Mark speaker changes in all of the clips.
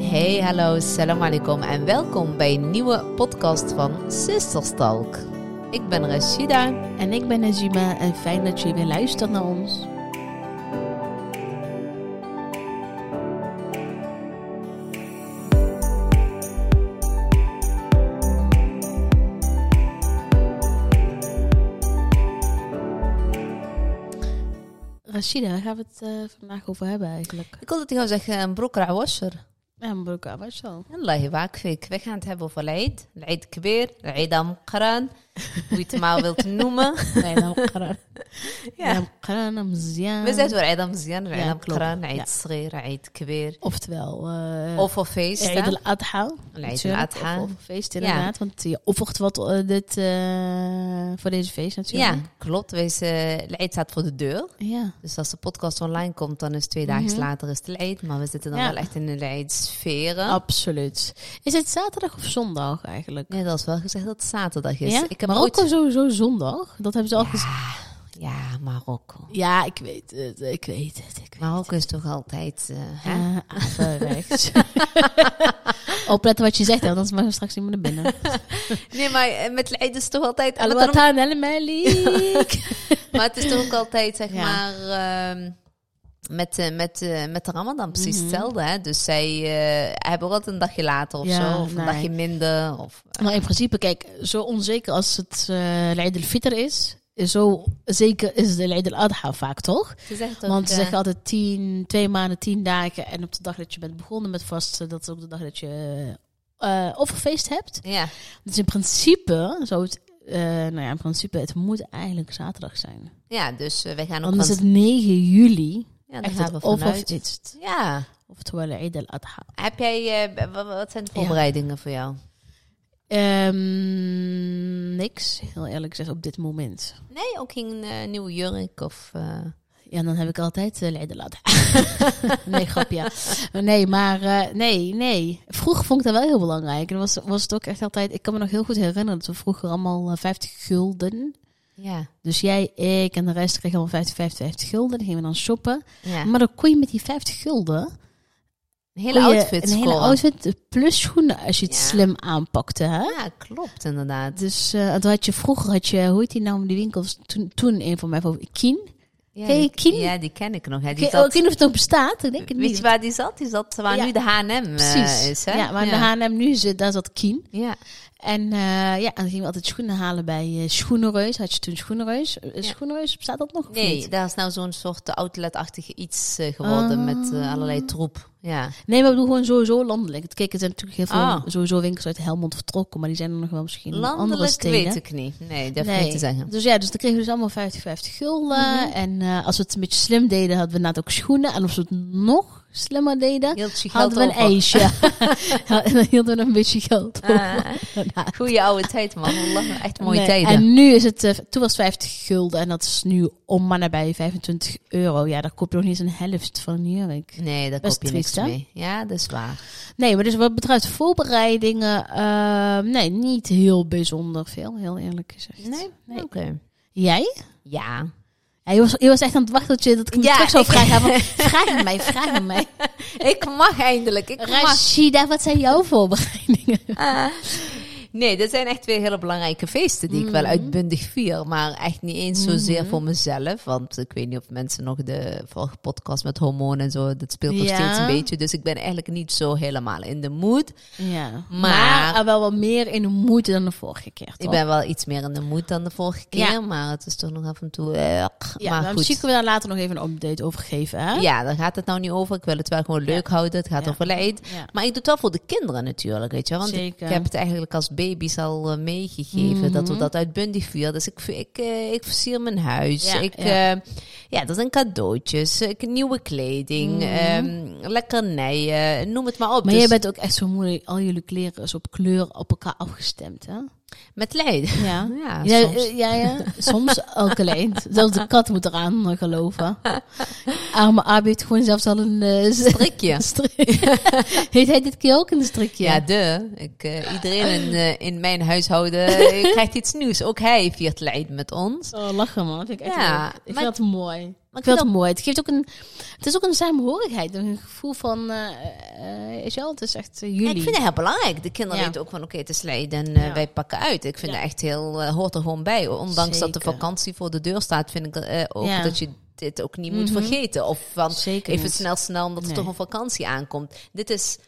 Speaker 1: Hey, hallo, salam alaikum en welkom bij een nieuwe podcast van Sisterstalk. Ik ben Rashida.
Speaker 2: En ik ben Najima en fijn dat jullie weer luistert naar ons. Rashida, waar gaan we het eh, vandaag over hebben eigenlijk?
Speaker 1: Ik wilde tegen jou zeggen, een broek washer.
Speaker 2: Ja, Mabruka, wat is al?
Speaker 1: Allah waakfik. We gaan het hebben over Eid. Eid Kbir, Eid Amqaran. Hoe je het maar wilt noemen.
Speaker 2: Nee, Namqaran. Ja. Namqaran, Namzian.
Speaker 1: We zijn door Eid Amzian, Eid
Speaker 2: Ja,
Speaker 1: Amqaran,
Speaker 2: klopt. Ja.
Speaker 1: Eid Sgir, Eid Kbir.
Speaker 2: Oftewel, eh
Speaker 1: Of of
Speaker 2: Eid
Speaker 1: feesten.
Speaker 2: al-Adha.
Speaker 1: Eid
Speaker 2: natuurlijk,
Speaker 1: al-Adha.
Speaker 2: Of, of feest inderdaad, want je offert wat eh, dit, eh, voor deze feest natuurlijk.
Speaker 1: Ja, klopt. Wees, eh, Eid staat voor de deur.
Speaker 2: Ja.
Speaker 1: Dus als de podcast online komt, dan is twee dagen later is het Eid. Maar we zitten dan
Speaker 2: Mhm. Ja.
Speaker 1: wel echt in de Leidsferen.
Speaker 2: Absoluut. Is het zaterdag of zondag eigenlijk?
Speaker 1: Nee, dat is wel gezegd dat het zaterdag is.
Speaker 2: ja?
Speaker 1: Ik heb
Speaker 2: Marokko
Speaker 1: ooit-
Speaker 2: sowieso zondag. Dat hebben ze al gezegd.
Speaker 1: Ja, Marokko.
Speaker 2: Ja, ik weet het. Ik weet het. Ik weet
Speaker 1: Marokko is toch altijd... eh, hè?
Speaker 2: het. Ah,
Speaker 1: eh,
Speaker 2: even rechts. Opletten wat je zegt, hè, anders mag we straks iemand naar binnen.
Speaker 1: Nee, maar eh, met Eid is het toch altijd... Maar, daarom-
Speaker 2: Al-Watan al-Malik.
Speaker 1: maar het is toch ook altijd, zeg
Speaker 2: Ja.
Speaker 1: maar... ehm, met, eh, met, eh, met de Ramadan precies
Speaker 2: Mhm.
Speaker 1: hetzelfde. Hè? Dus zij eh, hebben ook altijd een dagje later of
Speaker 2: Ja,
Speaker 1: zo. Of
Speaker 2: nee.
Speaker 1: een dagje minder. Of,
Speaker 2: Maar in principe, kijk, zo onzeker als het eh Eid al-Fitr is, zo zeker is de Eid al-Adha vaak, toch?
Speaker 1: ze zegt ook,
Speaker 2: Want ze
Speaker 1: eh,
Speaker 2: zeggen altijd tien, twee maanden, tien dagen. En op de dag dat je bent begonnen met vasten, dat is ook de dag dat je eh, eh, offerfeest hebt.
Speaker 1: Ja,
Speaker 2: Dus in principe zou het, eh, nou ja, in principe, het moet eigenlijk zaterdag zijn.
Speaker 1: ja, dus eh, wij gaan ook...
Speaker 2: Dan is
Speaker 1: van-
Speaker 2: het 9 juli.
Speaker 1: ja, dan
Speaker 2: Echt
Speaker 1: gaan we
Speaker 2: het offerfeest.
Speaker 1: vanuit.
Speaker 2: Of
Speaker 1: Ja.
Speaker 2: Oftewel Eid al-Adha.
Speaker 1: Heb jij, eh, b- wa- wat zijn de
Speaker 2: Ja.
Speaker 1: voorbereidingen voor jou?
Speaker 2: Ehm, niks, heel eerlijk gezegd, op dit moment.
Speaker 1: Nee, ook geen eh, nieuwe jurk of... eh,
Speaker 2: Ja, dan heb ik altijd uh, adha nee, grapje. Nee, maar eh, nee, nee. Vroeger vond ik dat wel heel belangrijk. En was, was het ook echt altijd... Ik kan me nog heel goed herinneren dat we vroeger allemaal eh, 50 gulden...
Speaker 1: ja,
Speaker 2: Dus jij, ik en de rest kregen allemaal 50, 50, 50 gulden. Dan gingen we dan shoppen.
Speaker 1: ja.
Speaker 2: Maar dan kon je met die 50 gulden...
Speaker 1: Een hele
Speaker 2: kon je
Speaker 1: outfit
Speaker 2: Een hele
Speaker 1: scoren.
Speaker 2: outfit plus schoenen als je het
Speaker 1: Ja.
Speaker 2: slim aanpakte, hè?
Speaker 1: Ja, klopt inderdaad.
Speaker 2: Dus eh dat had je vroeger, had je, hoe heet die nou in die winkels? Toen, toen een van mij, van Kien.
Speaker 1: Ja,
Speaker 2: Ken je
Speaker 1: die,
Speaker 2: Kien?
Speaker 1: ja, die ken ik nog. Hè.
Speaker 2: Ik
Speaker 1: Die
Speaker 2: weet
Speaker 1: zat,
Speaker 2: niet of het nog bestaat, ik denk het
Speaker 1: weet
Speaker 2: niet.
Speaker 1: je waar die zat? Die zat waar
Speaker 2: Ja.
Speaker 1: nu de H&M eh,
Speaker 2: Precies.
Speaker 1: is. Hè?
Speaker 2: Ja, waar de H&M nu zit, daar zat Kien.
Speaker 1: Ja.
Speaker 2: En eh, ja, dan gingen we altijd schoenen halen bij eh, Schoenenreus. Had je toen Schoenenreus? Eh,
Speaker 1: Ja.
Speaker 2: Schoenenreus, bestaat dat nog of
Speaker 1: Nee,
Speaker 2: niet?
Speaker 1: daar is nou zo'n soort outletachtige iets eh, geworden met
Speaker 2: Ah.
Speaker 1: eh, allerlei troep. Ja.
Speaker 2: Nee, maar ik bedoel gewoon sowieso landelijk. Kijk, er zijn natuurlijk heel veel
Speaker 1: Ah.
Speaker 2: sowieso winkels uit Helmond vertrokken. Maar die zijn er nog wel misschien in andere
Speaker 1: Landelijk
Speaker 2: steden.
Speaker 1: weet ik niet. Nee, dat nee.
Speaker 2: Nee.
Speaker 1: niet te zeggen. Mhm.
Speaker 2: Dus ja, dus dan kregen we dus allemaal 50, 50 gulden. En eh, als we het een beetje slim deden, hadden we inderdaad ook schoenen. En als we het nog slimmer deden,
Speaker 1: Hield je geld
Speaker 2: hadden we een
Speaker 1: over.
Speaker 2: ijsje. Ja, en dan hielden we nog een beetje geld over.
Speaker 1: Ah, goeie oude tijd, man. Wallah, Echt mooie
Speaker 2: Nee,
Speaker 1: tijden.
Speaker 2: En nu is het, eh, toen was het 50 gulden en dat is nu om maar nabij 25 euro. Ja, daar koop je nog niet eens een helft van een jurk.
Speaker 1: Nee, daar
Speaker 2: Best
Speaker 1: koop je niks
Speaker 2: triest, hè?
Speaker 1: mee. Ja, dat is waar.
Speaker 2: Nee, maar dus wat betreft voorbereidingen, ehm, nee, niet heel bijzonder veel, heel eerlijk gezegd.
Speaker 1: Oké.
Speaker 2: Jij?
Speaker 1: Ja.
Speaker 2: Ja, je, was, je was echt aan het wachten tot je dat ik me
Speaker 1: Ja,
Speaker 2: terug zou
Speaker 1: ik-
Speaker 2: vragen. Want, vraag het mij, vraag het mij.
Speaker 1: Ik mag eindelijk. Ik mag.
Speaker 2: Rashida, wat zijn jouw voorbereidingen?
Speaker 1: Ah. Nee, dat zijn echt twee hele belangrijke feesten die
Speaker 2: Mhm.
Speaker 1: ik wel uitbundig vier. Maar echt niet eens zozeer voor mezelf. Want ik weet niet of mensen nog de vorige podcast met hormonen en zo. Dat speelt nog
Speaker 2: Ja.
Speaker 1: steeds een beetje. Dus ik ben eigenlijk niet zo helemaal in de mood.
Speaker 2: Ja, maar,
Speaker 1: Maar-
Speaker 2: er wel wat meer in de moeite dan de vorige keer, toch?
Speaker 1: Ik ben wel iets meer in de mood dan de vorige keer.
Speaker 2: Ja.
Speaker 1: Maar het is toch nog af en toe... eh,
Speaker 2: ja,
Speaker 1: maar
Speaker 2: maar
Speaker 1: goed.
Speaker 2: misschien kunnen we daar later nog even een update over geven, hè?
Speaker 1: Ja, daar gaat het nou niet over. Ik wil het wel gewoon leuk houden. Het gaat
Speaker 2: Ja.
Speaker 1: over leid.
Speaker 2: Ja.
Speaker 1: Maar ik doe het wel voor de kinderen natuurlijk, weet je wel. Want
Speaker 2: Zeker. Mhm.
Speaker 1: ik heb het eigenlijk als baby's al eh, meegegeven. Dat we dat uitbundig vierden. Dus ik, ik, eh, ik versier mijn huis.
Speaker 2: Ja,
Speaker 1: ik, ja.
Speaker 2: ja.
Speaker 1: ja, dat zijn cadeautjes. Ik, nieuwe kleding. ehm, lekkernijen. Noem het maar op.
Speaker 2: Mhm. Maar
Speaker 1: Dus
Speaker 2: jij bent ook echt zo moeilijk. Al jullie kleren is op kleur op elkaar afgestemd, hè?
Speaker 1: Met leid.
Speaker 2: Ja.
Speaker 1: Ja,
Speaker 2: Ja,
Speaker 1: soms.
Speaker 2: eh, ja, ja. soms elke leent. Zelfs de kat moet eraan eh, geloven. Arme Abi heeft gewoon zelfs al een eh, s-
Speaker 1: Prikje.
Speaker 2: strik. Heet hij dit keer ook een strikje?
Speaker 1: Ja, de. Ik, eh, iedereen in, eh, in mijn huishouden eh, krijgt iets nieuws. Ook hij viert leid met ons.
Speaker 2: Oh, lachen man. Dat vind ik echt
Speaker 1: Ja,
Speaker 2: leuk. Ik
Speaker 1: maar-
Speaker 2: vind dat mooi.
Speaker 1: Maar
Speaker 2: Ik vind het mooi. Het geeft ook een, het is ook een saamhorigheid. Een gevoel van, eh, eh, weet je wel, het is echt eh,
Speaker 1: Ja,
Speaker 2: jullie.
Speaker 1: ik vind het heel belangrijk. De kinderen
Speaker 2: Ja.
Speaker 1: weten ook van oké, het is leid en eh,
Speaker 2: Ja.
Speaker 1: wij pakken uit. Ik vind
Speaker 2: Ja.
Speaker 1: het echt heel, eh, hoort er gewoon bij. Ondanks dat de
Speaker 2: Zeker.
Speaker 1: vakantie voor de deur staat, vind ik eh, ook
Speaker 2: Ja.
Speaker 1: dat je dit ook niet moet
Speaker 2: Mhm.
Speaker 1: vergeten. Of van
Speaker 2: Zeker
Speaker 1: even
Speaker 2: niet.
Speaker 1: snel, snel, omdat
Speaker 2: Nee.
Speaker 1: er toch een vakantie aankomt. Dit is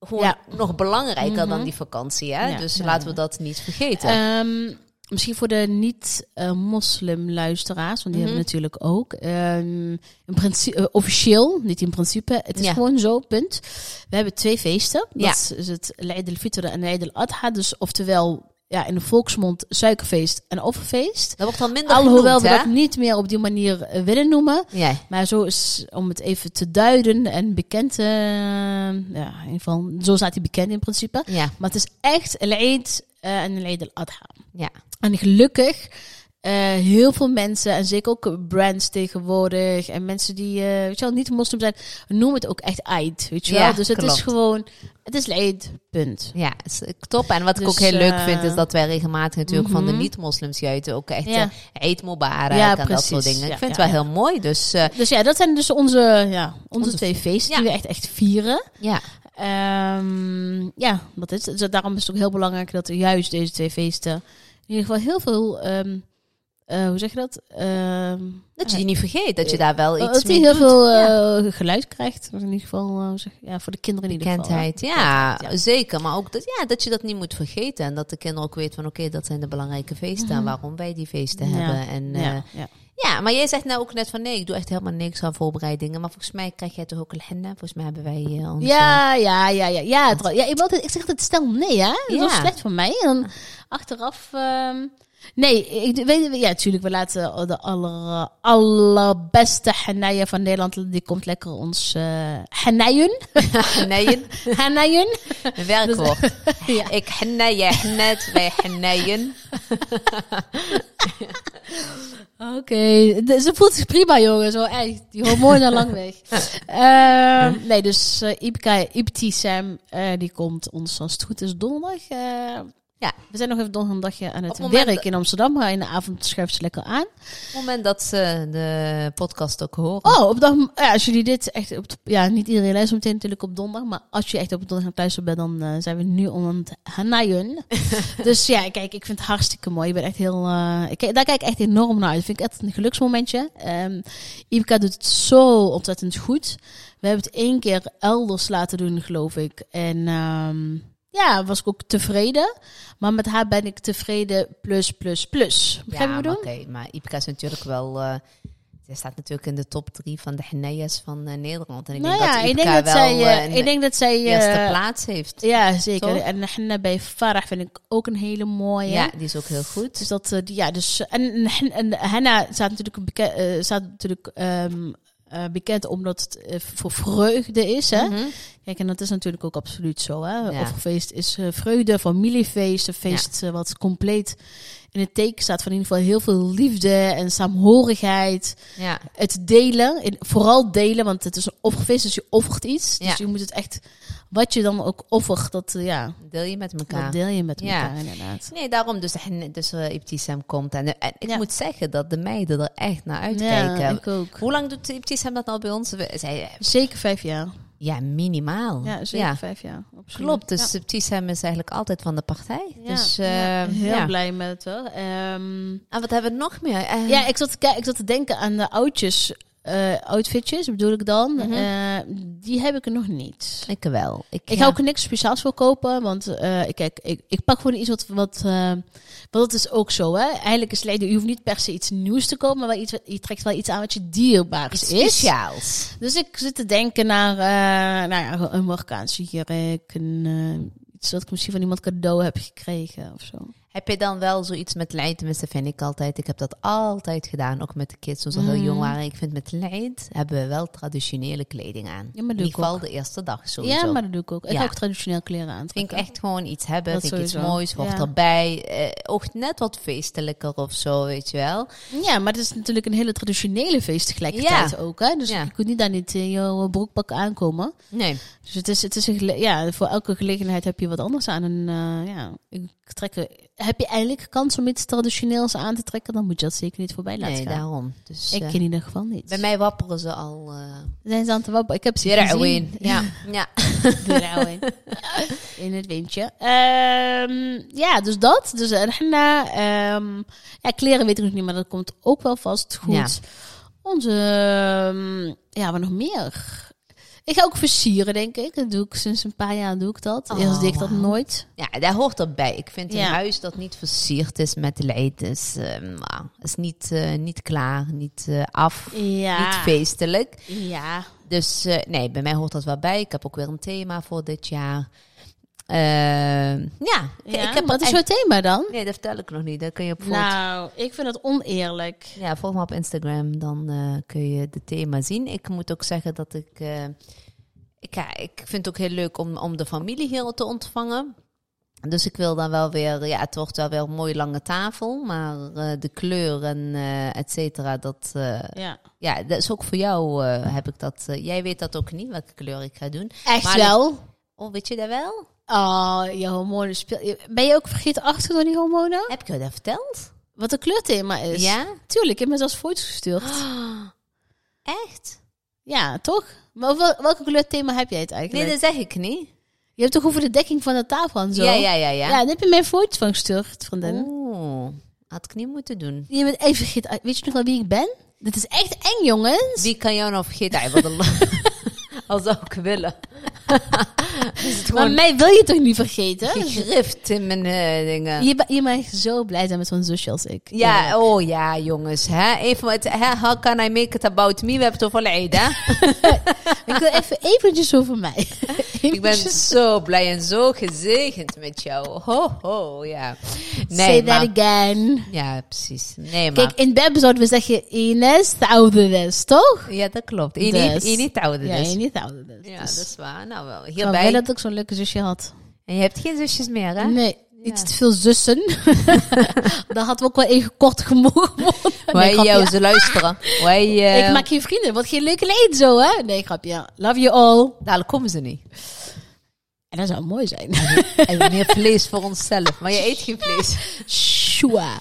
Speaker 1: gewoon
Speaker 2: Ja.
Speaker 1: nog belangrijker dan
Speaker 2: Mhm.
Speaker 1: die vakantie. Hè?
Speaker 2: Ja,
Speaker 1: Dus
Speaker 2: ja,
Speaker 1: laten we
Speaker 2: ja.
Speaker 1: dat niet vergeten.
Speaker 2: Ehm, misschien voor de niet-moslim-luisteraars, want
Speaker 1: Mhm.
Speaker 2: die hebben we natuurlijk ook. Ehm, in principe, eh, officieel, niet in principe. Het is
Speaker 1: Ja.
Speaker 2: gewoon zo, punt. We hebben twee feesten. Dat
Speaker 1: Ja.
Speaker 2: is- is het Eid al-Fitr en Eid al-Adha. Dus oftewel, ja, in de volksmond suikerfeest en offerfeest.
Speaker 1: dat wordt dan minder
Speaker 2: Alhoewel
Speaker 1: genoemd,
Speaker 2: we
Speaker 1: hè?
Speaker 2: dat niet meer op die manier eh, willen noemen.
Speaker 1: Ja.
Speaker 2: Maar zo is, om het even te duiden en bekend, eh, ja, in ieder geval, zo staat hij bekend in principe.
Speaker 1: Ja.
Speaker 2: Maar het is echt Eid eh, en Eid al-Adha.
Speaker 1: Ja.
Speaker 2: En gelukkig eh, heel veel mensen, en zeker ook brands tegenwoordig, en mensen die eh, weet je wel, niet moslim zijn, noemen het ook echt Eid. Weet je
Speaker 1: Ja,
Speaker 2: wel? Dus het
Speaker 1: klopt.
Speaker 2: is gewoon, het is Eid, punt.
Speaker 1: Ja, het is eh, top. En wat ik
Speaker 2: Dus,
Speaker 1: ook heel leuk
Speaker 2: eh,
Speaker 1: vind, is dat wij regelmatig natuurlijk van
Speaker 2: mhm.
Speaker 1: de niet-moslims juiten ook echt
Speaker 2: Ja.
Speaker 1: eh, eet Mubarak
Speaker 2: Ja,
Speaker 1: en dat
Speaker 2: precies.
Speaker 1: soort dingen.
Speaker 2: Ja,
Speaker 1: ik vind
Speaker 2: ja,
Speaker 1: het wel heel mooi. Dus eh,
Speaker 2: Dus ja, dat zijn dus onze, ja, onze,
Speaker 1: Onze-
Speaker 2: twee feesten
Speaker 1: ja.
Speaker 2: die we echt, echt vieren.
Speaker 1: ja,
Speaker 2: Ehm, ja, dat is, dus daarom is het ook heel belangrijk dat juist deze twee feesten in ieder geval heel veel, ehm, eh, hoe zeg je dat? Ehm,
Speaker 1: dat je
Speaker 2: ja,
Speaker 1: die niet vergeet. Dat je daar wel
Speaker 2: Oh,
Speaker 1: iets
Speaker 2: dat hij
Speaker 1: mee
Speaker 2: heel
Speaker 1: doet.
Speaker 2: veel
Speaker 1: Ja.
Speaker 2: eh, geluid krijgt. In ieder geval eh, hoe zeg- ja, voor de kinderen in ieder geval. hè.
Speaker 1: Bekendheid, ja,
Speaker 2: Bekendheid, ja.
Speaker 1: zeker. Maar ook dat, ja, dat je dat niet moet vergeten. En dat de kinderen ook weten van oké, dat zijn de belangrijke feesten. En
Speaker 2: Mhm.
Speaker 1: waarom wij die feesten
Speaker 2: Ja.
Speaker 1: hebben. En, eh,
Speaker 2: Ja, ja.
Speaker 1: Ja, maar jij zegt nou ook net van nee, ik doe echt helemaal niks aan voorbereidingen. Maar volgens mij krijg jij toch ook een henna. Volgens mij hebben wij eh, onze...
Speaker 2: ja, ja, ja, ja, ja, trouw- ja. Ik, wil altijd, ik zeg altijd stel nee, hè? Dat
Speaker 1: Ja.
Speaker 2: was slecht voor mij. En dan achteraf... ehm, nee, ik weet... Ja, natuurlijk, we laten de aller, allerbeste hennaien van Nederland... Die komt lekker ons... eh hennaien.
Speaker 1: Nee, een
Speaker 2: hennaien.
Speaker 1: een werkwoord.
Speaker 2: Dus- Ja.
Speaker 1: Ik henna, jij hennet, wij hennaien.
Speaker 2: Oké, de- ze voelt zich prima, jongen. Zo echt, die hormonen lang weg. Ehm, nee, dus eh Ibka, Ibtisam, eh, die komt ons als het goed is donderdag. eh,
Speaker 1: Ja.
Speaker 2: we zijn nog even donderdag een dagje aan het,
Speaker 1: Op het moment-
Speaker 2: werk in Amsterdam, maar in de avond schuift ze lekker aan.
Speaker 1: Op het moment dat ze de podcast ook horen.
Speaker 2: Oh, op dag, ja, als jullie dit echt op, de- ja, niet iedereen luistert meteen natuurlijk op donderdag, maar als je echt op donderdag aan het luisteren bent, dan eh, zijn we nu om het hanaien. dus ja, kijk, ik vind het hartstikke mooi. Ik ben echt heel, eh, ik, daar kijk ik echt enorm naar uit. Vind ik echt een geluksmomentje. Ehm Ibka doet het zo ontzettend goed. We hebben het één keer elders laten doen, geloof ik. En ehm, ja, was ik ook tevreden. Maar met haar ben ik tevreden plus, plus, plus. Begrijp
Speaker 1: ja,
Speaker 2: je wat ik
Speaker 1: maar
Speaker 2: bedoel?
Speaker 1: oké. maar Ipka is natuurlijk wel... eh zij staat natuurlijk in de top drie van de henna's van eh, Nederland. En ik
Speaker 2: Nou
Speaker 1: denk
Speaker 2: ja,
Speaker 1: dat
Speaker 2: ik
Speaker 1: Ipka
Speaker 2: denk dat
Speaker 1: wel
Speaker 2: zij, eh,
Speaker 1: eh, een
Speaker 2: ik denk dat zij, eh,
Speaker 1: eerste plaats heeft.
Speaker 2: Ja, zeker.
Speaker 1: Toch?
Speaker 2: En henna bij Farah vind ik ook een hele mooie.
Speaker 1: Ja, die is ook heel goed.
Speaker 2: Dus dat, eh, die, ja, dus, eh, en, en, hen- en henna staat natuurlijk, beke- eh, staat natuurlijk ehm, eh, bekend omdat het eh, voor vreugde is. Hè?
Speaker 1: Mhm.
Speaker 2: Kijk, en dat is natuurlijk ook absoluut zo. Hè?
Speaker 1: Ja.
Speaker 2: Offerfeest is eh, vreugde, familiefeest, een feest eh, wat compleet in het teken staat van in ieder geval heel veel liefde en saamhorigheid
Speaker 1: Ja,
Speaker 2: het delen, in- vooral delen, want het is een offerfeest, dus je offert iets. Dus
Speaker 1: Ja.
Speaker 2: je moet het echt, wat je dan ook offert, dat, eh, ja,
Speaker 1: deel je met elkaar.
Speaker 2: dat deel je met
Speaker 1: Ja.
Speaker 2: elkaar inderdaad.
Speaker 1: Nee, daarom. Dus, de henna- dus eh, Ibtisam komt. En, eh, en ik
Speaker 2: Ja.
Speaker 1: moet zeggen dat de meiden er echt naar uitkijken.
Speaker 2: Ja, ik ook.
Speaker 1: Hoe lang doet Ibtisam dat nou bij ons? We- Zij,
Speaker 2: Zeker vijf jaar.
Speaker 1: ja, minimaal.
Speaker 2: Ja, zeker vijf jaar. Absoluut.
Speaker 1: Klopt,
Speaker 2: Ja.
Speaker 1: dus Ibtisam is eigenlijk altijd van de partij.
Speaker 2: Ja,
Speaker 1: dus,
Speaker 2: ja.
Speaker 1: eh,
Speaker 2: heel
Speaker 1: ja.
Speaker 2: blij met het wel. Ehm,
Speaker 1: En wat hebben we nog meer? Eh,
Speaker 2: ja, ik zat, te kijk- ik zat te denken aan de oudjes, eh, outfitjes bedoel ik dan.
Speaker 1: Mhm.
Speaker 2: Eh, die heb ik er nog niet.
Speaker 1: ik wel. Ik,
Speaker 2: Ik
Speaker 1: ja.
Speaker 2: ga ook niks speciaals voor kopen, want eh, ik, kijk, ik, ik pak gewoon iets wat... wat eh, want dat is ook zo, hè. Eigenlijk is Leiden, je hoeft niet per se iets nieuws te kopen, maar wel iets, wat- je trekt wel iets aan wat je dierbaars
Speaker 1: iets
Speaker 2: is.
Speaker 1: speciaals.
Speaker 2: Dus ik zit te denken naar eh, nou ja, een Marokkaanse jurk, een, eh, iets wat ik misschien van iemand cadeau heb gekregen of zo.
Speaker 1: Heb je dan wel zoiets met leid? Tenminste, vind ik altijd. Ik heb dat altijd gedaan, ook met de kids toen ze heel
Speaker 2: Mm.
Speaker 1: jong waren. Ik vind met leid hebben we wel traditionele kleding aan.
Speaker 2: Ja, maar doe
Speaker 1: In ieder
Speaker 2: ik ook.
Speaker 1: geval de eerste dag sowieso.
Speaker 2: Ja, maar dat doe ik ook. Ik
Speaker 1: Ja.
Speaker 2: ga ook traditioneel kleren aantrekken.
Speaker 1: Vind ik echt gewoon iets hebben,
Speaker 2: Dat
Speaker 1: vind ik iets
Speaker 2: sowieso.
Speaker 1: moois, hoort
Speaker 2: Ja.
Speaker 1: erbij. Eh, ook net wat feestelijker of zo, weet je wel.
Speaker 2: Ja, maar het is natuurlijk een hele traditionele feest tegelijkertijd
Speaker 1: Ja.
Speaker 2: ook, hè. Dus
Speaker 1: Ja.
Speaker 2: je kunt niet daar niet in je broekpak aankomen.
Speaker 1: Nee,
Speaker 2: Dus het is, het is een gele- ja, voor elke gelegenheid heb je wat anders aan. En, eh, ja, ik trekken. Heb je eindelijk kans om iets traditioneels aan te trekken, dan moet je dat zeker niet voorbij laten
Speaker 1: nee,
Speaker 2: gaan.
Speaker 1: daarom. Dus, eh,
Speaker 2: Ik in ieder geval niet.
Speaker 1: bij mij wapperen ze al. eh
Speaker 2: Zijn ze aan het wabbelen? Ik heb ze
Speaker 1: Weer
Speaker 2: gezien.
Speaker 1: Owen. Ja. ja.
Speaker 2: Weer Owen. in het windje. Ehm, ja, dus dat. Dus een henna. ehm, ja, kleren weet ik nog niet, maar dat komt ook wel vast goed.
Speaker 1: Ja.
Speaker 2: Onze... ehm, ja, wat nog meer? Ik ga ook versieren, denk ik. Dat doe ik sinds een paar jaar doe ik dat.
Speaker 1: Oh,
Speaker 2: Eerst deed ik dat
Speaker 1: wauw.
Speaker 2: nooit.
Speaker 1: Ja, daar hoort dat bij. Ik vind een
Speaker 2: Ja.
Speaker 1: huis dat niet versierd is met leed, is, eh, nou, is niet, eh, niet klaar, niet eh, af,
Speaker 2: Ja.
Speaker 1: niet feestelijk.
Speaker 2: Ja.
Speaker 1: Dus eh, nee, bij mij hoort dat wel bij. Ik heb ook weer een thema voor dit jaar. Eh, ja, ik- ik heb
Speaker 2: wat is
Speaker 1: eigenlijk-
Speaker 2: jouw thema dan?
Speaker 1: Nee, dat vertel ik nog niet. Dat kun je op volgend-
Speaker 2: Nou, ik vind het oneerlijk.
Speaker 1: Ja, volg me op Instagram, dan eh, kun je de thema zien. Ik moet ook zeggen dat ik... eh, ik, ja, ik vind het ook heel leuk om, om de familie hier te ontvangen. Dus ik wil dan wel weer... Ja, het wordt wel weer een mooie lange tafel. Maar eh, de kleur en eh, et cetera, dat... eh,
Speaker 2: Ja.
Speaker 1: ja, dat is ook voor jou eh, heb ik dat... eh, jij weet dat ook niet, welke kleur ik ga doen.
Speaker 2: Echt
Speaker 1: Maar-
Speaker 2: wel?
Speaker 1: Oh, weet je dat wel?
Speaker 2: Oh, je hormonen speel- Ben je ook vergeetachtig door die hormonen?
Speaker 1: Heb ik jou dat verteld?
Speaker 2: Wat een kleurthema is?
Speaker 1: Ja?
Speaker 2: Tuurlijk, ik heb me zelfs foto's gestuurd.
Speaker 1: Echt?
Speaker 2: Ja, toch? Maar wel, welke kleurthema heb jij het eigenlijk?
Speaker 1: Nee, dat zeg ik niet.
Speaker 2: Je hebt toch over de dekking van de tafel en zo?
Speaker 1: Ja, ja, ja, ja.
Speaker 2: Ja, daar heb je mij foto's van gestuurd, vriendin.
Speaker 1: Oeh, had ik niet moeten doen.
Speaker 2: Je bent even vergeet... Weet je nog wel wie ik ben? Dit is echt eng, jongens.
Speaker 1: Wie kan jou nou vergeten? Hij wil Al zou ik willen. is het
Speaker 2: Maar
Speaker 1: gewoon
Speaker 2: mij wil je toch niet vergeten?
Speaker 1: gegrift in mijn eh, dingen.
Speaker 2: Je, ba- je mag zo blij zijn met zo'n zusje als ik.
Speaker 1: Ja, oh ja, jongens. Hè? Even wat, hè? How can I make it about me? We hebben het over Eid, hè?
Speaker 2: Ik wil even eventjes over mij.
Speaker 1: Ik ben zo blij en zo gezegend met jou. Ho, ho, ja.
Speaker 2: Say
Speaker 1: Nee,
Speaker 2: that
Speaker 1: maar,
Speaker 2: again.
Speaker 1: ja, precies. Nee, maar...
Speaker 2: Kijk, in Beb zouden we zeggen Ines, de oude les, toch?
Speaker 1: ja, dat klopt. Je niet,
Speaker 2: Dus.
Speaker 1: je niet ouder
Speaker 2: Ja,
Speaker 1: dus.
Speaker 2: Ines, de oude les.
Speaker 1: Ja,
Speaker 2: dus.
Speaker 1: dat is waar. Nou wel,
Speaker 2: Ik ben blij
Speaker 1: hierbij.
Speaker 2: dat ik zo'n leuke zusje had.
Speaker 1: En je hebt geen zusjes meer, hè?
Speaker 2: Nee, iets te veel zussen. Daar had we ook wel even kort gemogen worden.
Speaker 1: Wij
Speaker 2: Nee, grapje.
Speaker 1: jou, ze luisteren. Wij, eh,
Speaker 2: Ik maak geen vrienden, wat geen leuke leed zo, hè? Nee, grapje. Love you all.
Speaker 1: Dadelijk Nou, komen ze niet.
Speaker 2: En dat zou mooi zijn.
Speaker 1: En meer vlees voor onszelf. Maar je eet geen vlees.
Speaker 2: Shua.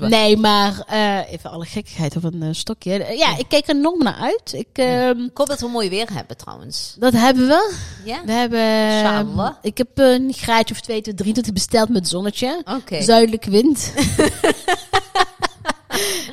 Speaker 2: Nee, maar eh, even alle gekkigheid op een eh, stokje. Eh, Ja, ik kijk er nog naar uit. Ik, ehm,
Speaker 1: Ik hoop dat we mooi weer hebben trouwens.
Speaker 2: dat hebben we.
Speaker 1: Ja?
Speaker 2: We hebben. ehm,
Speaker 1: Inshallah.
Speaker 2: Ik heb een graadje of twee tot drie tot besteld met zonnetje.
Speaker 1: Oké.
Speaker 2: Zuidelijk wind.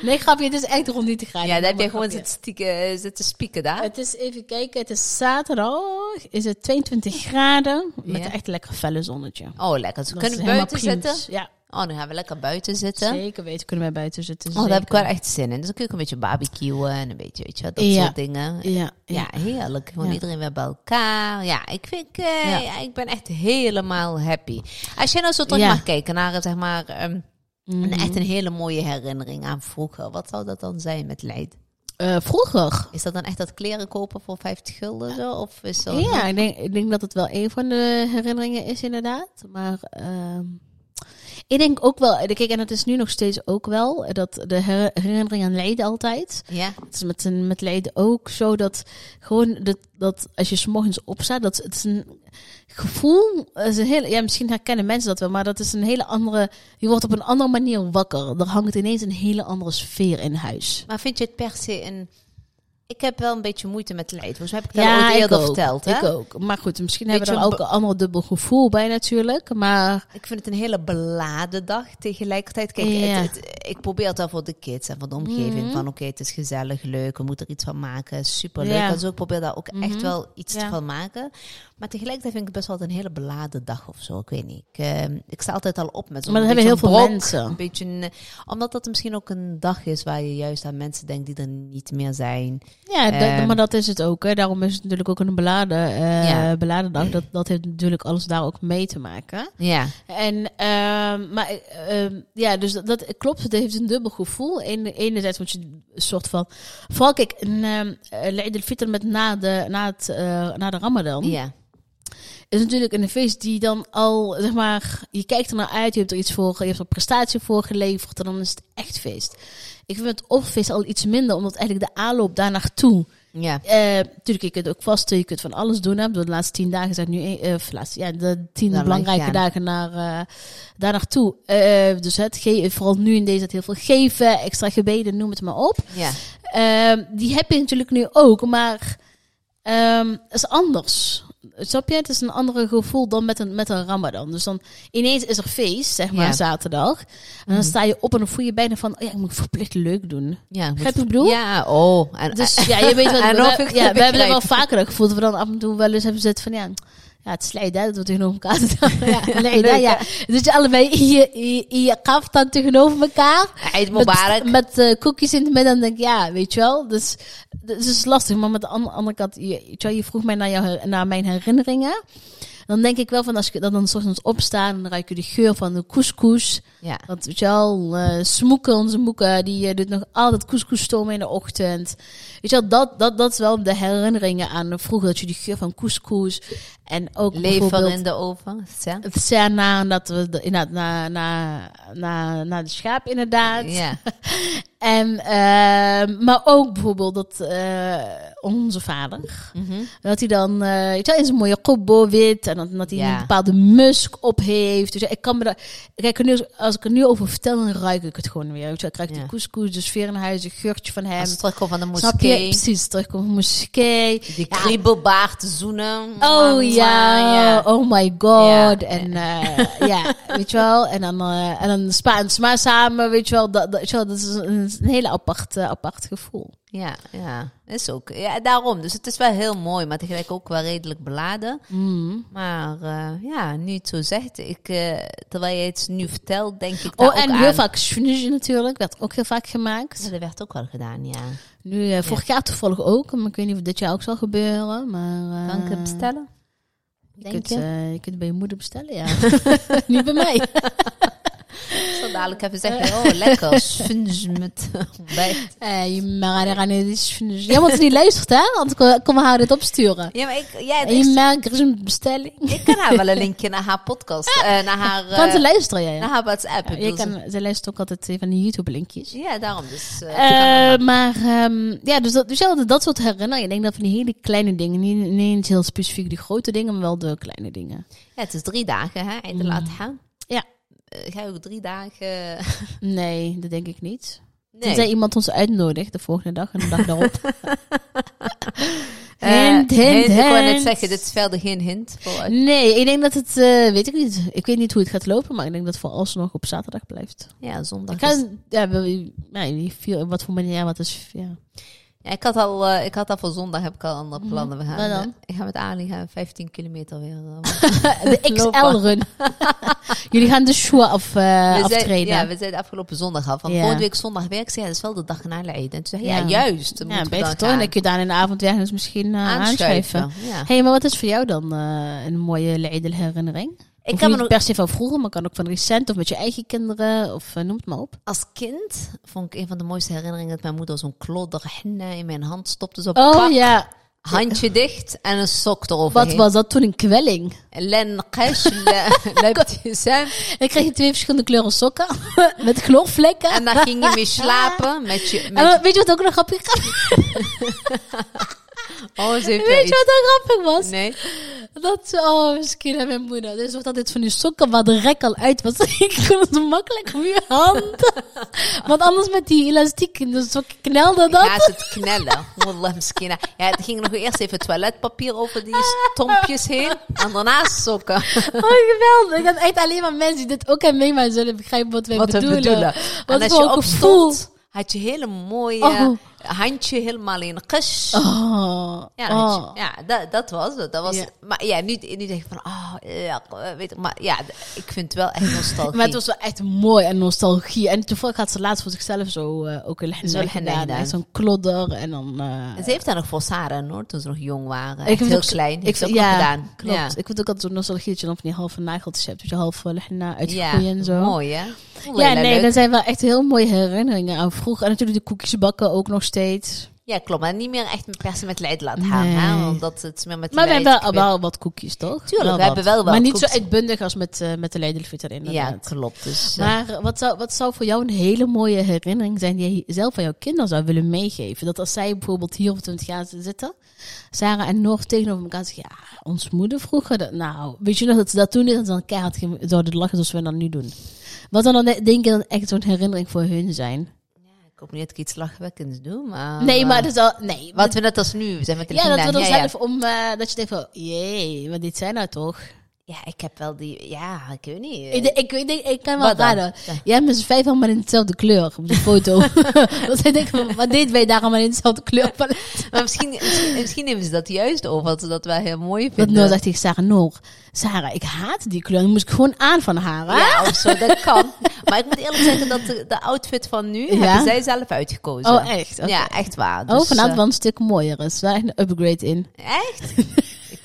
Speaker 2: nee, grapje, het is echt rond niet te gaan.
Speaker 1: Ja, daar heb je gewoon zitten, stieken, eh, zitten spieken daar.
Speaker 2: Het is even kijken, het is zaterdag, is het 22 graden met
Speaker 1: Ja.
Speaker 2: een echt lekker felle zonnetje. Dat
Speaker 1: Oh, lekker. Dus we
Speaker 2: is
Speaker 1: kunnen
Speaker 2: helemaal
Speaker 1: buiten
Speaker 2: prima.
Speaker 1: zitten.
Speaker 2: Ja,
Speaker 1: Oh, dan gaan we lekker buiten zitten.
Speaker 2: zeker weten kunnen wij buiten zitten.
Speaker 1: Oh, daar heb ik wel
Speaker 2: zeker.
Speaker 1: echt zin in. Dus dan kun je ook een beetje barbecuen en een beetje, weet je wel, dat
Speaker 2: Ja.
Speaker 1: soort dingen.
Speaker 2: Ja,
Speaker 1: Ja,
Speaker 2: ja.
Speaker 1: heerlijk. Gewoon
Speaker 2: Ja.
Speaker 1: iedereen weer bij elkaar. Ja, ik vind, eh,
Speaker 2: Ja.
Speaker 1: ja, ik ben echt helemaal happy. Als jij nou zo terug
Speaker 2: Ja. Mhm.
Speaker 1: mag kijken naar, eh, zeg maar, ehm, een, echt een hele mooie herinnering aan vroeger. Wat zou dat dan zijn met Leid?
Speaker 2: Eh, vroeger.
Speaker 1: Is dat dan echt dat kleren kopen voor 50 gulden zo? Of is dat...
Speaker 2: Ja, ik denk, ik denk dat het wel een van de herinneringen is, inderdaad. Maar ehm, ik denk ook wel, kijk, en het is nu nog steeds ook wel, eh, dat de her- herinnering aan Leiden altijd.
Speaker 1: Ja?
Speaker 2: Het is met, een- met Leiden ook zo dat gewoon dat, dat als je s'morgens opstaat, dat het is een gevoel, het is een hele, ja, misschien herkennen mensen dat wel, maar dat is een hele andere, je wordt op een andere manier wakker. Er hangt ineens een hele andere sfeer in huis.
Speaker 1: Maar vind je het per se een... Ik heb wel een beetje moeite met Leid. Volgens mij heb ik dat
Speaker 2: Ja,
Speaker 1: ooit
Speaker 2: ik
Speaker 1: eerder
Speaker 2: ook.
Speaker 1: verteld. Hè?
Speaker 2: Ik ook. Maar goed, misschien
Speaker 1: Beetje
Speaker 2: hebben we er
Speaker 1: een
Speaker 2: ook een ander dubbel gevoel bij natuurlijk. Maar
Speaker 1: Ik vind het een hele beladen dag tegelijkertijd. Kijk,
Speaker 2: Ja. Mhm.
Speaker 1: het- het- ik probeer het wel voor de kids en voor de omgeving. Van oké, het is gezellig, leuk, we moeten er iets van maken, superleuk.
Speaker 2: Ja. Mhm.
Speaker 1: En zo, ik probeer daar ook echt wel iets
Speaker 2: Ja.
Speaker 1: van maken. Maar tegelijkertijd vind ik het best wel een hele beladen dag of zo. Ik weet niet. Ik, eh, ik sta altijd al op met zo'n
Speaker 2: Maar dat hebben
Speaker 1: beetje
Speaker 2: heel
Speaker 1: een
Speaker 2: veel
Speaker 1: brok,
Speaker 2: mensen.
Speaker 1: Een beetje, een- eh, omdat dat misschien ook een dag is waar je juist aan mensen denkt die er niet meer zijn.
Speaker 2: ja, dat-
Speaker 1: Ehm.
Speaker 2: maar dat is het ook. Hè. Daarom is het natuurlijk ook een beladen, eh,
Speaker 1: Ja.
Speaker 2: beladen dag. Dat, dat heeft natuurlijk alles daar ook mee te maken.
Speaker 1: Ja,
Speaker 2: En, ehm, maar eh, ehm, ja, dus dat, dat klopt. Het heeft een dubbel gevoel. Ene- enerzijds moet je een soort van... Vooral kijk, een, ehm, eh, L'Eid al-Fitr met na de, na, het, eh, na de ramadan.
Speaker 1: ja.
Speaker 2: is natuurlijk een feest die dan al, zeg maar, je kijkt er naar uit, je hebt er iets voor, je hebt er prestatie voor geleverd en dan is het echt feest. Ik vind het offerfeest al iets minder, omdat eigenlijk de aanloop daar naartoe
Speaker 1: Ja.
Speaker 2: Eh, Tuurlijk, je kunt ook vasten, je kunt van alles doen. Hè. De laatste tien dagen zijn nu, eh, of laatste, ja, de tien
Speaker 1: Daar
Speaker 2: belangrijke
Speaker 1: langs, ja.
Speaker 2: dagen naar, eh, daar naartoe. Eh, dus het ge- vooral nu in deze tijd heel veel geven, extra gebeden, noem het maar op.
Speaker 1: ja.
Speaker 2: Ehm, die heb je natuurlijk nu ook, maar ehm, het is anders. Snap je? Het is een ander gevoel dan met een, met een ramadan. Dus dan ineens is er feest, zeg maar,
Speaker 1: Ja.
Speaker 2: zaterdag. En dan sta je op en dan voel je bijna van, oh ja, ik moet verplicht leuk doen.
Speaker 1: ja
Speaker 2: Begrijp je wat ik bedoel?
Speaker 1: Ja, oh. En,
Speaker 2: Dus ja, je weet wat
Speaker 1: En
Speaker 2: we,
Speaker 1: of ik
Speaker 2: we- ja,
Speaker 1: het
Speaker 2: we hebben dat wel
Speaker 1: begrijp.
Speaker 2: vaker dat gevoel. Dat we dan af en toe wel eens hebben gezet van, ja, ja het slijt hè, dat we tegenover elkaar
Speaker 1: eh,
Speaker 2: staan. ja, nee,
Speaker 1: Leuk,
Speaker 2: nou ja. Dus je allebei in je, in je- in je kaftan tegenover elkaar.
Speaker 1: Eid
Speaker 2: Met-
Speaker 1: Mubarak.
Speaker 2: Met, eh, koekjes in het midden, dan denk ik, ja, weet je wel. Dus dat is lastig. Maar met de an- andere kant, je, weet je wel, je vroeg mij naar, jou, naar mijn herinneringen. Dan denk ik wel van, als ik dan, dan 's ochtends opsta, dan ruik je de geur van de couscous.
Speaker 1: ja.
Speaker 2: Want weet je wel, eh, Smoeken, onze moeken, die eh, doet nog altijd couscous stomen in de ochtend. Weet je wel, dat, dat, dat is wel de herinneringen aan vroeger. Dat je die geur van couscous en ook
Speaker 1: Leven
Speaker 2: bijvoorbeeld
Speaker 1: in de oven. Ja.
Speaker 2: het zijn na, dat we de, inderdaad na, na, na, na de schaap inderdaad.
Speaker 1: Ja.
Speaker 2: En, eh, maar ook bijvoorbeeld dat eh, onze vader,
Speaker 1: Mhm.
Speaker 2: dat hij dan eh, weet je wel, in zijn mooie kobbo wit en dat, dat hij
Speaker 1: Ja.
Speaker 2: een bepaalde musk op heeft. Dus ja, ik kan me daar, kijk, nu, als ik er nu over vertel, dan ruik ik het gewoon weer. Weet je wel. Ik krijg
Speaker 1: Ja.
Speaker 2: die couscous, de sfeer in huis, een geurtje van hem.
Speaker 1: Als het terugkomt van de
Speaker 2: Snap je?
Speaker 1: moskee.
Speaker 2: Precies, terugkomt van de moskee.
Speaker 1: Die
Speaker 2: Ja.
Speaker 1: kriebelbaard zoenen.
Speaker 2: Oh ja, oh my god.
Speaker 1: Ja.
Speaker 2: En eh, ja, weet je wel. En dan, eh en dan Spaans maar samen, weet je wel. Dat, dat, weet je wel, dat is een, een hele apart, eh, apart gevoel.
Speaker 1: Ja, ja, is ook. Ja, daarom. Dus het is wel heel mooi, maar tegelijk ook wel redelijk beladen.
Speaker 2: Mhm.
Speaker 1: Maar eh, ja, nu je het zo zegt, ik, eh, terwijl je het nu vertelt, denk ik daar
Speaker 2: Oh, en
Speaker 1: ook
Speaker 2: heel
Speaker 1: aan.
Speaker 2: vaak schnoezje natuurlijk. Werd ook heel vaak gemaakt.
Speaker 1: Ja, dat werd ook wel gedaan, ja.
Speaker 2: Nu, eh, vorig jaar toevallig ook. Maar ik weet niet of dit jaar ook zal gebeuren. Maar, eh,
Speaker 1: Kan ik het bestellen?
Speaker 2: Je
Speaker 1: Denk
Speaker 2: kunt,
Speaker 1: je?
Speaker 2: eh, je kunt bij je moeder bestellen, ja. niet bij mij.
Speaker 1: Ik zal dadelijk even zeggen, oh lekker, sfunge met ontbijt.
Speaker 2: Eh, je maar er aan is Ja, want die luistert, hè? Want ik eh, kom haar dit opsturen.
Speaker 1: Ja, maar ik, ja,
Speaker 2: En je
Speaker 1: ik,
Speaker 2: merkt, er is Eh, een bestelling.
Speaker 1: ik kan haar wel een linkje naar haar podcast, eh, naar haar, eh,
Speaker 2: Want ze luisteren jij.
Speaker 1: naar haar WhatsApp. Ik
Speaker 2: Ja, je
Speaker 1: bedoel,
Speaker 2: kan, ze luistert ook altijd eh, van die YouTube-linkjes.
Speaker 1: ze- Ja, daarom. Dus, eh,
Speaker 2: Eh, maar ehm, ja, dus dat, dus ja, dat soort herinneringen. Ik denk dat van die hele kleine dingen, niet, niet eens heel specifiek de grote dingen, maar wel de kleine dingen.
Speaker 1: ja, het is drie dagen, hè? Einde laat gaan.
Speaker 2: Mm. Ja.
Speaker 1: Eh, ga je ook drie dagen...
Speaker 2: Nee, dat denk ik niet.
Speaker 1: Nee.
Speaker 2: Tenzij iemand ons uitnodigt de volgende dag en de dag daarop.
Speaker 1: Eh,
Speaker 2: Hint, hint,
Speaker 1: Ik wou net
Speaker 2: hint.
Speaker 1: zeggen, dit is verder geen hint. Voor,
Speaker 2: Nee, ik denk dat het, eh, weet ik niet. Ik weet niet hoe het gaat lopen, maar ik denk dat het vooralsnog op zaterdag blijft.
Speaker 1: ja, dus- zondag.
Speaker 2: Ik
Speaker 1: is-
Speaker 2: ga, ja, we- ja, die vier- op wat voor manier, ja, wat is, ja.
Speaker 1: ja, ik, had al, eh, ik had al voor zondag heb ik al andere plannen. We gaan,
Speaker 2: Mhm. Wat dan?
Speaker 1: eh, ik ga met Ali gaan 15 kilometer weer. eh,
Speaker 2: De
Speaker 1: Lopen.
Speaker 2: XL-run. Jullie gaan de schoenen af, eh,
Speaker 1: we zijn-
Speaker 2: aftreden.
Speaker 1: ja, we zijn de afgelopen zondag af. Van
Speaker 2: Ja.
Speaker 1: volgende week zondag werk. Ik zei, Ja, dat is wel de dag na Leiden. En toen zei hij, ja,
Speaker 2: Ja.
Speaker 1: juist. Dan
Speaker 2: Ja,
Speaker 1: moeten we
Speaker 2: beter
Speaker 1: dan
Speaker 2: toch? En
Speaker 1: gaan
Speaker 2: dan kun je daar in de avond weer eens misschien eh, aanschuiven.
Speaker 1: aanschuiven. Ja.
Speaker 2: hey, maar wat is voor jou dan eh, een mooie Eid herinnering?
Speaker 1: Ik
Speaker 2: Of
Speaker 1: kan me
Speaker 2: niet
Speaker 1: nog-
Speaker 2: per se van vroeger, maar kan ook van recent of met je eigen kinderen of eh, noem het maar op.
Speaker 1: Als kind vond ik een van de mooiste herinneringen dat mijn moeder zo'n klodder henna in mijn hand stopte. Zo
Speaker 2: Oh
Speaker 1: pak,
Speaker 2: ja,
Speaker 1: handje dicht en een sok
Speaker 2: wat
Speaker 1: eroverheen.
Speaker 2: was dat toen? Een kwelling.
Speaker 1: Len Kesh, Lebtisem.
Speaker 2: Dan kreeg je twee verschillende kleuren sokken met gloorvlekken.
Speaker 1: En daar ging je mee slapen met je...
Speaker 2: En
Speaker 1: Met
Speaker 2: wat- weet je wat ook nog grappig was?
Speaker 1: oh, ze heeft wel
Speaker 2: Weet je wat ook grappig was?
Speaker 1: iets. Nee.
Speaker 2: Dat, oh, misschien aan mijn moeder. Dus wordt altijd van die sokken waar de rek al uit was. ik kon het makkelijk op je hand. Want anders met die elastiek in de sokken knelde dat.
Speaker 1: Gaat het knellen. Wallah, miskina. Ja, het ging nog eerst even toiletpapier over die stompjes heen. En daarna sokken.
Speaker 2: Oh, geweldig. Dat echt alleen maar mensen die dit ook aan meemaken zullen begrijpen wat wij
Speaker 1: Wat we
Speaker 2: bedoelen.
Speaker 1: bedoelen.
Speaker 2: Wat
Speaker 1: en als
Speaker 2: voor
Speaker 1: je
Speaker 2: gevoel.
Speaker 1: opstond, had je hele mooie
Speaker 2: Oh.
Speaker 1: handje helemaal in kesh.
Speaker 2: Oh,
Speaker 1: Ja, dat
Speaker 2: oh.
Speaker 1: had je- ja dat, dat was het. Dat was,
Speaker 2: Ja.
Speaker 1: Maar ja, nu, nu denk ik van, oh, ja, eh, weet ik, maar ja, d- ik vind het wel echt nostalgie.
Speaker 2: Maar het was wel echt mooi en nostalgie. En toevallig had ze laatst voor zichzelf zo eh, ook een
Speaker 1: Zo'n
Speaker 2: henna
Speaker 1: henna
Speaker 2: gedaan.
Speaker 1: gedaan.
Speaker 2: Echt Zo'n klodder en dan... eh,
Speaker 1: En ze heeft daar nog voor Sarah, hoor, toen ze nog jong waren.
Speaker 2: Ik
Speaker 1: Echt
Speaker 2: vind
Speaker 1: heel
Speaker 2: ook zo-
Speaker 1: klein. Heeft ze
Speaker 2: vind-
Speaker 1: ook nog gedaan.
Speaker 2: Klopt.
Speaker 1: Ja.
Speaker 2: Ik vind het ook altijd zo'n nostalgie dat je dan van die halve nageltjes hebt. Dat je half eh, henna uitgegroeid en zo.
Speaker 1: mooi hè?
Speaker 2: Ja, nee, dat zijn wel echt heel mooie herinneringen aan vroeger. En natuurlijk de koekjes bakken ook nog steeds.
Speaker 1: Ja, klopt. Maar niet meer echt met persen met leid laten gaan. Hè?
Speaker 2: Nee.
Speaker 1: Want dat het meer met
Speaker 2: Maar we
Speaker 1: leid-
Speaker 2: hebben wel, wel wat koekjes, toch?
Speaker 1: Tuurlijk, we
Speaker 2: wat.
Speaker 1: hebben wel wat
Speaker 2: Maar niet
Speaker 1: koekjes.
Speaker 2: zo uitbundig als met, eh, met de Leidelfieter
Speaker 1: Ja,
Speaker 2: inderdaad.
Speaker 1: klopt. Dus, eh,
Speaker 2: Maar eh, wat zou, wat zou voor jou een hele mooie herinnering zijn die je zelf aan jouw kinderen zou willen meegeven? Dat als zij bijvoorbeeld hier op het gaan zitten, Sarah en Noor tegenover elkaar zeggen, ja, ons moeder vroeger, dat, nou, weet je nog dat ze dat toen deden, dat ze dan keihard gem- zouden lachen zoals we dat nu doen. Wat zou dan eh, denk je dan echt zo'n herinnering voor hun zijn?
Speaker 1: ik hoop niet dat ik iets lachwekkends doe, maar...
Speaker 2: nee, maar
Speaker 1: eh,
Speaker 2: dat is al, nee.
Speaker 1: Wat we net als nu zijn met de
Speaker 2: ja, dat we
Speaker 1: Lina.
Speaker 2: dan
Speaker 1: ja, ja.
Speaker 2: zelf om, eh, dat je denkt van, jee, wat dit zijn nou toch?
Speaker 1: Ja, ik heb wel die... Ja, ik weet niet.
Speaker 2: Ik,
Speaker 1: eh,
Speaker 2: denk- ik, ik, denk- ik kan wel
Speaker 1: Wat dan?
Speaker 2: raden. Jij hebt met z'n vijf allemaal in dezelfde kleur op de foto. Want zij denken, wat deed wij daar allemaal in dezelfde kleurpalet?
Speaker 1: Maar misschien, misschien, misschien nemen ze dat juist over, wat ze dat wel heel mooi
Speaker 2: Dat
Speaker 1: vinden.
Speaker 2: Noor zegt tegen Sarah, Noor, Sarah, ik haat die kleur. Die moest ik gewoon aan van haar. hè?
Speaker 1: Ja, of zo, dat kan. Maar ik moet eerlijk zeggen dat de, de outfit van nu
Speaker 2: Ja?
Speaker 1: hebben zij zelf uitgekozen.
Speaker 2: Oh, echt? Oké.
Speaker 1: Ja, echt waar.
Speaker 2: Oh,
Speaker 1: Dus,
Speaker 2: vanavond
Speaker 1: eh,
Speaker 2: wel een stuk mooier. Er is wel echt een upgrade in.
Speaker 1: Echt?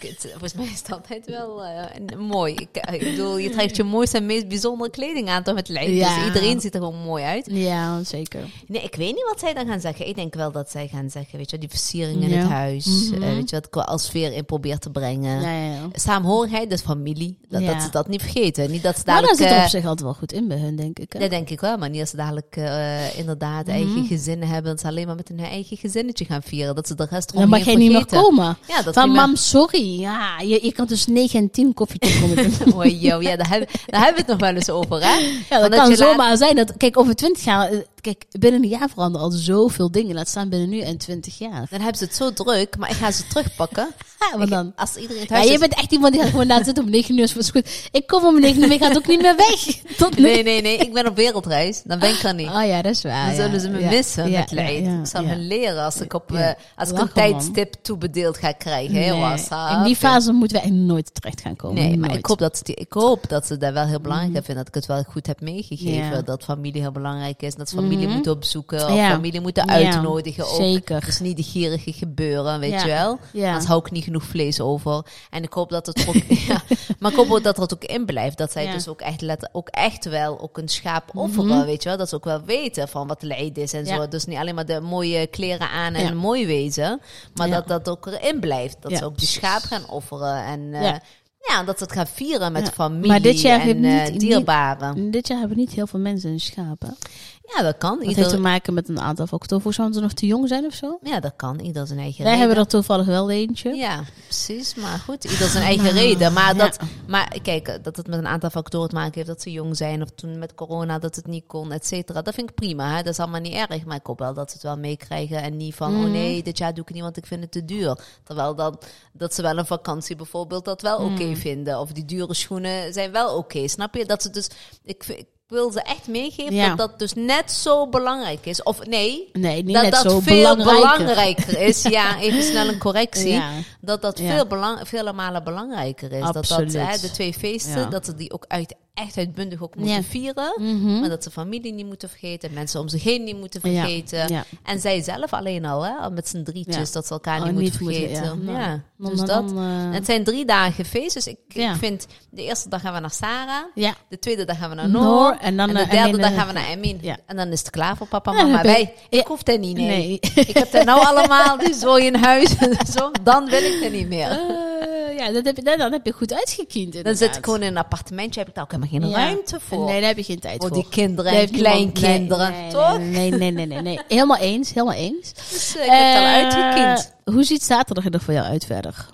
Speaker 1: ik, het- volgens mij is het altijd wel eh, een- mooi. Ik, eh, ik bedoel, je trekt je mooiste en meest bijzondere kleding aan toch met lijst.
Speaker 2: Ja.
Speaker 1: Dus iedereen ziet er gewoon mooi uit.
Speaker 2: Ja, zeker.
Speaker 1: Nee, ik weet niet wat zij dan gaan zeggen. Ik denk wel dat zij gaan zeggen, weet je wel, die versiering in
Speaker 2: Ja. Mhm.
Speaker 1: het huis. eh, weet je wat ik wel als sfeer in probeer te brengen.
Speaker 2: Ja, ja, ja.
Speaker 1: Saamhorigheid, dus familie. Dat,
Speaker 2: Ja.
Speaker 1: dat ze dat niet vergeten. Niet dat ze
Speaker 2: Maar daar
Speaker 1: dadelijk...
Speaker 2: zit er
Speaker 1: eh,
Speaker 2: op zich altijd wel goed in bij hun, denk ik. hè?
Speaker 1: dat denk ik wel, maar niet als ze dadelijk eh, inderdaad
Speaker 2: Mhm.
Speaker 1: eigen gezinnen hebben. Dat ze alleen maar met hun eigen gezinnetje gaan vieren. Dat ze de rest
Speaker 2: Dan
Speaker 1: eromheen
Speaker 2: mag jij niet meer
Speaker 1: vergeten.
Speaker 2: komen.
Speaker 1: Ja, dat is
Speaker 2: van,
Speaker 1: niet meer-
Speaker 2: mam, sorry. Ja, je, je kan dus 9 en 10 koffietjes komen doen.
Speaker 1: Oei, yo, ja, daar, hebben daar hebben we het nog wel eens over, hè?
Speaker 2: Ja,
Speaker 1: Van
Speaker 2: dat, kan
Speaker 1: je laat-
Speaker 2: zomaar zijn. Dat, kijk, over twintig jaar... eh, Kijk, binnen een jaar veranderen al zoveel dingen. Laat staan binnen nu en twintig jaar.
Speaker 1: Dan hebben ze het zo druk, maar ik ga ze terugpakken.
Speaker 2: Ja, wat dan?
Speaker 1: Als iedereen het
Speaker 2: Ja,
Speaker 1: huis
Speaker 2: je
Speaker 1: is-
Speaker 2: bent echt iemand die gaat gewoon laat zitten om negen uur. is voor goed. Ik kom om negen uur, maar ik ga ook niet meer weg. Tot nu.
Speaker 1: Nee, nee, nee, ik ben op wereldreis. Dan ben ik er niet.
Speaker 2: Oh ja, dat is waar.
Speaker 1: Dan
Speaker 2: ja.
Speaker 1: zullen ze me
Speaker 2: Ja,
Speaker 1: missen
Speaker 2: ja,
Speaker 1: met
Speaker 2: ja,
Speaker 1: leid.
Speaker 2: ja,
Speaker 1: ik zal
Speaker 2: ja.
Speaker 1: me leren als ik, op,
Speaker 2: Ja.
Speaker 1: eh, als ik een
Speaker 2: Lachen, man.
Speaker 1: tijdstip toebedeeld ga krijgen. hè,
Speaker 2: Nee,
Speaker 1: WhatsApp.
Speaker 2: In die fase moeten we echt nooit terecht gaan komen.
Speaker 1: Nee, maar
Speaker 2: Nooit. Mhm.
Speaker 1: ik hoop, dat ze, die- ik hoop dat ze daar wel heel belangrijk aan vinden. Dat ik het wel goed heb meegegeven.
Speaker 2: Ja. Mhm.
Speaker 1: Dat familie heel belangrijk is. en Dat ze familie moeten opzoeken. Of
Speaker 2: Ja.
Speaker 1: familie moeten
Speaker 2: Ja,
Speaker 1: uitnodigen. ook.
Speaker 2: zeker.
Speaker 1: Dus niet de gierige gebeuren, weet
Speaker 2: Ja.
Speaker 1: je wel.
Speaker 2: Ja.
Speaker 1: Anders hou ik niet genoeg vlees over. En ik hoop dat het er ook... ja, maar ik hoop ook dat het ook in blijft. Dat zij
Speaker 2: Ja. Mhm.
Speaker 1: dus ook echt, letter, ook echt wel ook een schaap offeren, weet je wel. Dat ze ook wel weten van wat leid is en
Speaker 2: Ja.
Speaker 1: zo. Dus niet alleen maar de mooie kleren aan en
Speaker 2: Ja.
Speaker 1: mooi wezen. Maar
Speaker 2: Ja.
Speaker 1: dat dat ook erin blijft. Dat
Speaker 2: Ja,
Speaker 1: ze ook die schaap gaan offeren. En eh,
Speaker 2: Ja.
Speaker 1: ja, dat ze het gaan vieren met
Speaker 2: Ja.
Speaker 1: familie
Speaker 2: Maar dit jaar
Speaker 1: en
Speaker 2: heeft
Speaker 1: eh,
Speaker 2: niet-
Speaker 1: dierbaren.
Speaker 2: Dit jaar hebben niet heel veel mensen een schapen. Dat
Speaker 1: Ja, dat kan.
Speaker 2: heeft te
Speaker 1: Ieder,
Speaker 2: maken met een aantal factoren. Volgens mij omdat ze nog te jong zijn of zo.
Speaker 1: ja, dat kan. Ieder zijn eigen
Speaker 2: Wij
Speaker 1: reden.
Speaker 2: hebben er toevallig wel eentje.
Speaker 1: Ja, precies. Maar goed, ieder zijn eigen reden. Maar,
Speaker 2: Nou, ja.
Speaker 1: dat, maar kijk, dat het met een aantal factoren te maken heeft. Dat ze jong zijn of toen met corona dat het niet kon, et cetera. Dat vind ik prima. Hè? Dat is allemaal niet erg. Maar ik hoop wel dat ze het wel meekrijgen. En niet van, oh
Speaker 2: Mhm.
Speaker 1: nee, dit jaar doe ik niet, want ik vind het te duur. Terwijl dan, dat ze wel een vakantie bijvoorbeeld dat wel oké
Speaker 2: Mhm.
Speaker 1: vinden. Of die dure schoenen zijn wel oké. Snap je? Dat ze dus... Ik, vind- ik wil ze echt meegeven
Speaker 2: Ja.
Speaker 1: dat dat dus net zo belangrijk is. Of nee,
Speaker 2: Nee, niet
Speaker 1: dat
Speaker 2: net
Speaker 1: dat
Speaker 2: zo
Speaker 1: veel
Speaker 2: belangrijker.
Speaker 1: is. Ja, even snel een correctie.
Speaker 2: Ja.
Speaker 1: Dat dat
Speaker 2: Ja.
Speaker 1: veel, belang, vele malen belangrijker is. Dat
Speaker 2: Absoluut.
Speaker 1: dat hè, de twee feesten,
Speaker 2: Ja.
Speaker 1: dat ze die ook uit, echt uitbundig ook moeten
Speaker 2: Ja. Mhm.
Speaker 1: vieren. Maar dat ze familie niet moeten vergeten, mensen om zich heen niet moeten
Speaker 2: Ja.
Speaker 1: vergeten.
Speaker 2: Ja.
Speaker 1: En zij zelf alleen al, hè, met z'n drietjes,
Speaker 2: Ja.
Speaker 1: dat ze elkaar
Speaker 2: Oh,
Speaker 1: niet,
Speaker 2: niet
Speaker 1: moeten
Speaker 2: moeten,
Speaker 1: vergeten.
Speaker 2: ja.
Speaker 1: ja.
Speaker 2: Nou, dan-
Speaker 1: Dus dat.
Speaker 2: dan, eh,
Speaker 1: Het zijn drie dagen feest. Dus ik,
Speaker 2: Ja.
Speaker 1: ik vind, de eerste dag gaan we naar Sarah.
Speaker 2: Ja.
Speaker 1: De tweede dag gaan we naar
Speaker 2: Noor,
Speaker 1: Noor.
Speaker 2: en dan,
Speaker 1: de
Speaker 2: eh,
Speaker 1: derde
Speaker 2: Emin,
Speaker 1: dag
Speaker 2: eh,
Speaker 1: gaan we naar Emin.
Speaker 2: ja.
Speaker 1: En dan is het klaar voor papa en
Speaker 2: Ja, dan
Speaker 1: mama.
Speaker 2: heb je-
Speaker 1: Wij, ik hoef dat niet, nee.
Speaker 2: Nee.
Speaker 1: Ik heb dat nou allemaal, die zooi in huis en zo. Dan wil ik dat niet meer.
Speaker 2: Eh, ja, dat heb je, dan, dan heb je goed uitgekiend.
Speaker 1: Dan
Speaker 2: inderdaad.
Speaker 1: zit ik gewoon in een appartementje, heb ik daar ook helemaal geen
Speaker 2: Ja.
Speaker 1: ruimte voor.
Speaker 2: Nee, daar heb je geen tijd
Speaker 1: voor
Speaker 2: voor.
Speaker 1: die kinderen
Speaker 2: Daar
Speaker 1: en
Speaker 2: heeft niemand-
Speaker 1: kleinkinderen,
Speaker 2: nee, nee,
Speaker 1: toch?
Speaker 2: Nee, nee, nee, nee, nee. Helemaal eens, helemaal eens.
Speaker 1: Dus, eh, ik heb het al
Speaker 2: Eh,
Speaker 1: uitgekiend.
Speaker 2: Hoe ziet zaterdag er voor jou uit verder?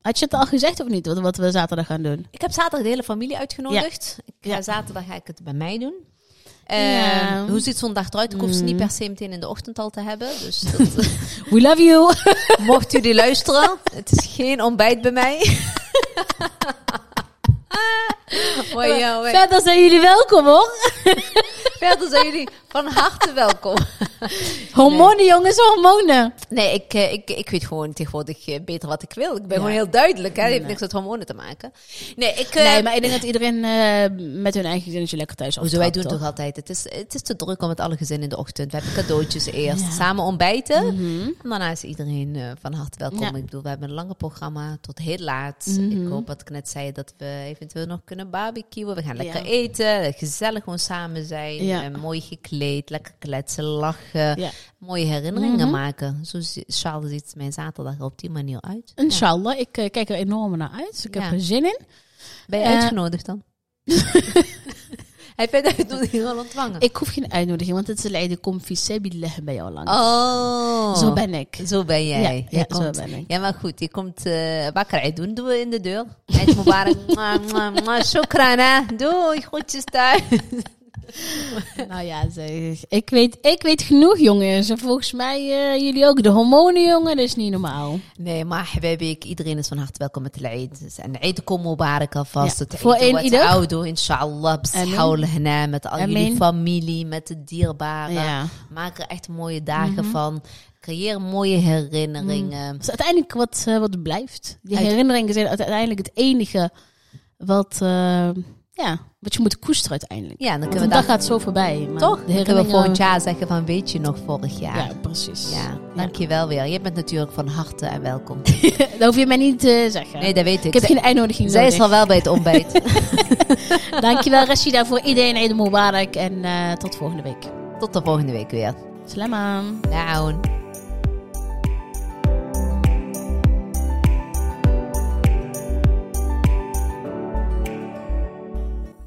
Speaker 2: Had je het al gezegd of niet, wat, wat we zaterdag gaan doen?
Speaker 1: Ik heb zaterdag de hele familie uitgenodigd. Ik ga
Speaker 2: Ja.
Speaker 1: Zaterdag ga ik het bij mij doen. Eh,
Speaker 2: Ja. Hmm.
Speaker 1: Hoe ziet zo'n dag eruit? Ik hoef ze niet per se meteen in de ochtend al te hebben. Dus dat,
Speaker 2: We love you!
Speaker 1: mocht jullie luisteren, het is geen ontbijt bij mij. Hoi, ja, hoi.
Speaker 2: Verder zijn jullie welkom hoor!
Speaker 1: Verder zijn jullie van harte welkom.
Speaker 2: Hormonen jongens, hormonen!
Speaker 1: Nee, ik, eh, ik, ik weet gewoon tegenwoordig eh, beter wat ik wil. Ik ben gewoon heel duidelijk. Hè? Het heeft niks met hormonen te maken. Nee, ik... eh,
Speaker 2: Nee, maar ik denk dat iedereen eh, met hun eigen gezinnetje lekker thuis
Speaker 1: Hoezo, wij doen
Speaker 2: aftrapt,
Speaker 1: toch altijd. Het is, het is te druk om met alle gezinnen in de ochtend. We hebben cadeautjes eerst. Samen ontbijten. En daarna is iedereen eh, van harte welkom.
Speaker 2: Mhm. Ja. Mhm.
Speaker 1: Ik bedoel, we hebben een lange programma tot heel laat. Ik hoop wat ik net zei, dat we eventueel nog kunnen barbecuen. We gaan lekker
Speaker 2: Ja.
Speaker 1: eten. Gezellig gewoon samen zijn.
Speaker 2: Ja. Ja.
Speaker 1: eh, mooi gekleed, lekker kletsen, lachen,
Speaker 2: Ja.
Speaker 1: mooie herinneringen
Speaker 2: Mhm.
Speaker 1: maken. Zo zi- zwaalde ziet mijn zaterdag er op die manier uit. Ja.
Speaker 2: Inshallah, ik eh, kijk er enorm naar uit. Ik
Speaker 1: Ja.
Speaker 2: heb er zin in.
Speaker 1: Ben je
Speaker 2: Eh,
Speaker 1: uitgenodigd dan? Heb je de uitnodiging al ontvangen?
Speaker 2: Ik hoef geen uitnodiging, want het is leider kom visebillah bij jou lang.
Speaker 1: oh,
Speaker 2: Zo ben ik.
Speaker 1: zo ben jij.
Speaker 2: Ja,
Speaker 1: Jij
Speaker 2: ja, zo
Speaker 1: komt-
Speaker 2: ben ik.
Speaker 1: Ja, maar goed, je komt eh wakker uit doen, doen we in de deur. Eid Mubarak, Mwah, mwah, mwah. shukran hè. Doei, groetjes thuis.
Speaker 2: Nou ja, zeg. Ik weet, ik weet genoeg, jongens. En volgens mij eh, jullie ook. De hormonen, jongen, dat is niet normaal.
Speaker 1: Nee, maar habibik, iedereen is van harte welkom met de Eid. Dus En Eid kom Mubarak alvast.
Speaker 2: Ja,
Speaker 1: Het
Speaker 2: voor
Speaker 1: Eid
Speaker 2: een
Speaker 1: wat
Speaker 2: ieder.
Speaker 1: ouder, inshallah. Beschouw hna met al jullie
Speaker 2: Amen.
Speaker 1: familie, met de dierbaren. Maak er echt mooie dagen van. Creëer mooie herinneringen.
Speaker 2: Dat is uiteindelijk wat, eh, wat blijft. Die
Speaker 1: Uit-
Speaker 2: herinneringen zijn uite- uiteindelijk het enige wat, eh, ja, wat je moet koesteren uiteindelijk.
Speaker 1: Ja, dan
Speaker 2: Want
Speaker 1: kunnen
Speaker 2: een
Speaker 1: we
Speaker 2: dag
Speaker 1: daar
Speaker 2: gaat zo voorbij. Maar
Speaker 1: toch
Speaker 2: De
Speaker 1: dan kunnen we volgend
Speaker 2: herinneringen...
Speaker 1: jaar zeggen van weet je nog vorig jaar. Ja,
Speaker 2: Ja, precies.
Speaker 1: dankjewel weer. Je bent natuurlijk van harte en welkom.
Speaker 2: Dat hoef je mij niet te zeggen.
Speaker 1: Nee, dat weet
Speaker 2: ik
Speaker 1: ik.
Speaker 2: heb
Speaker 1: Zij,
Speaker 2: geen uitnodiging
Speaker 1: zij is
Speaker 2: nodig.
Speaker 1: al wel bij het ontbijt.
Speaker 2: Dankjewel Rashida voor iedereen. Eid Mubarak. En eh, tot volgende week.
Speaker 1: Tot de volgende week weer.
Speaker 2: Salam aan.
Speaker 1: Down.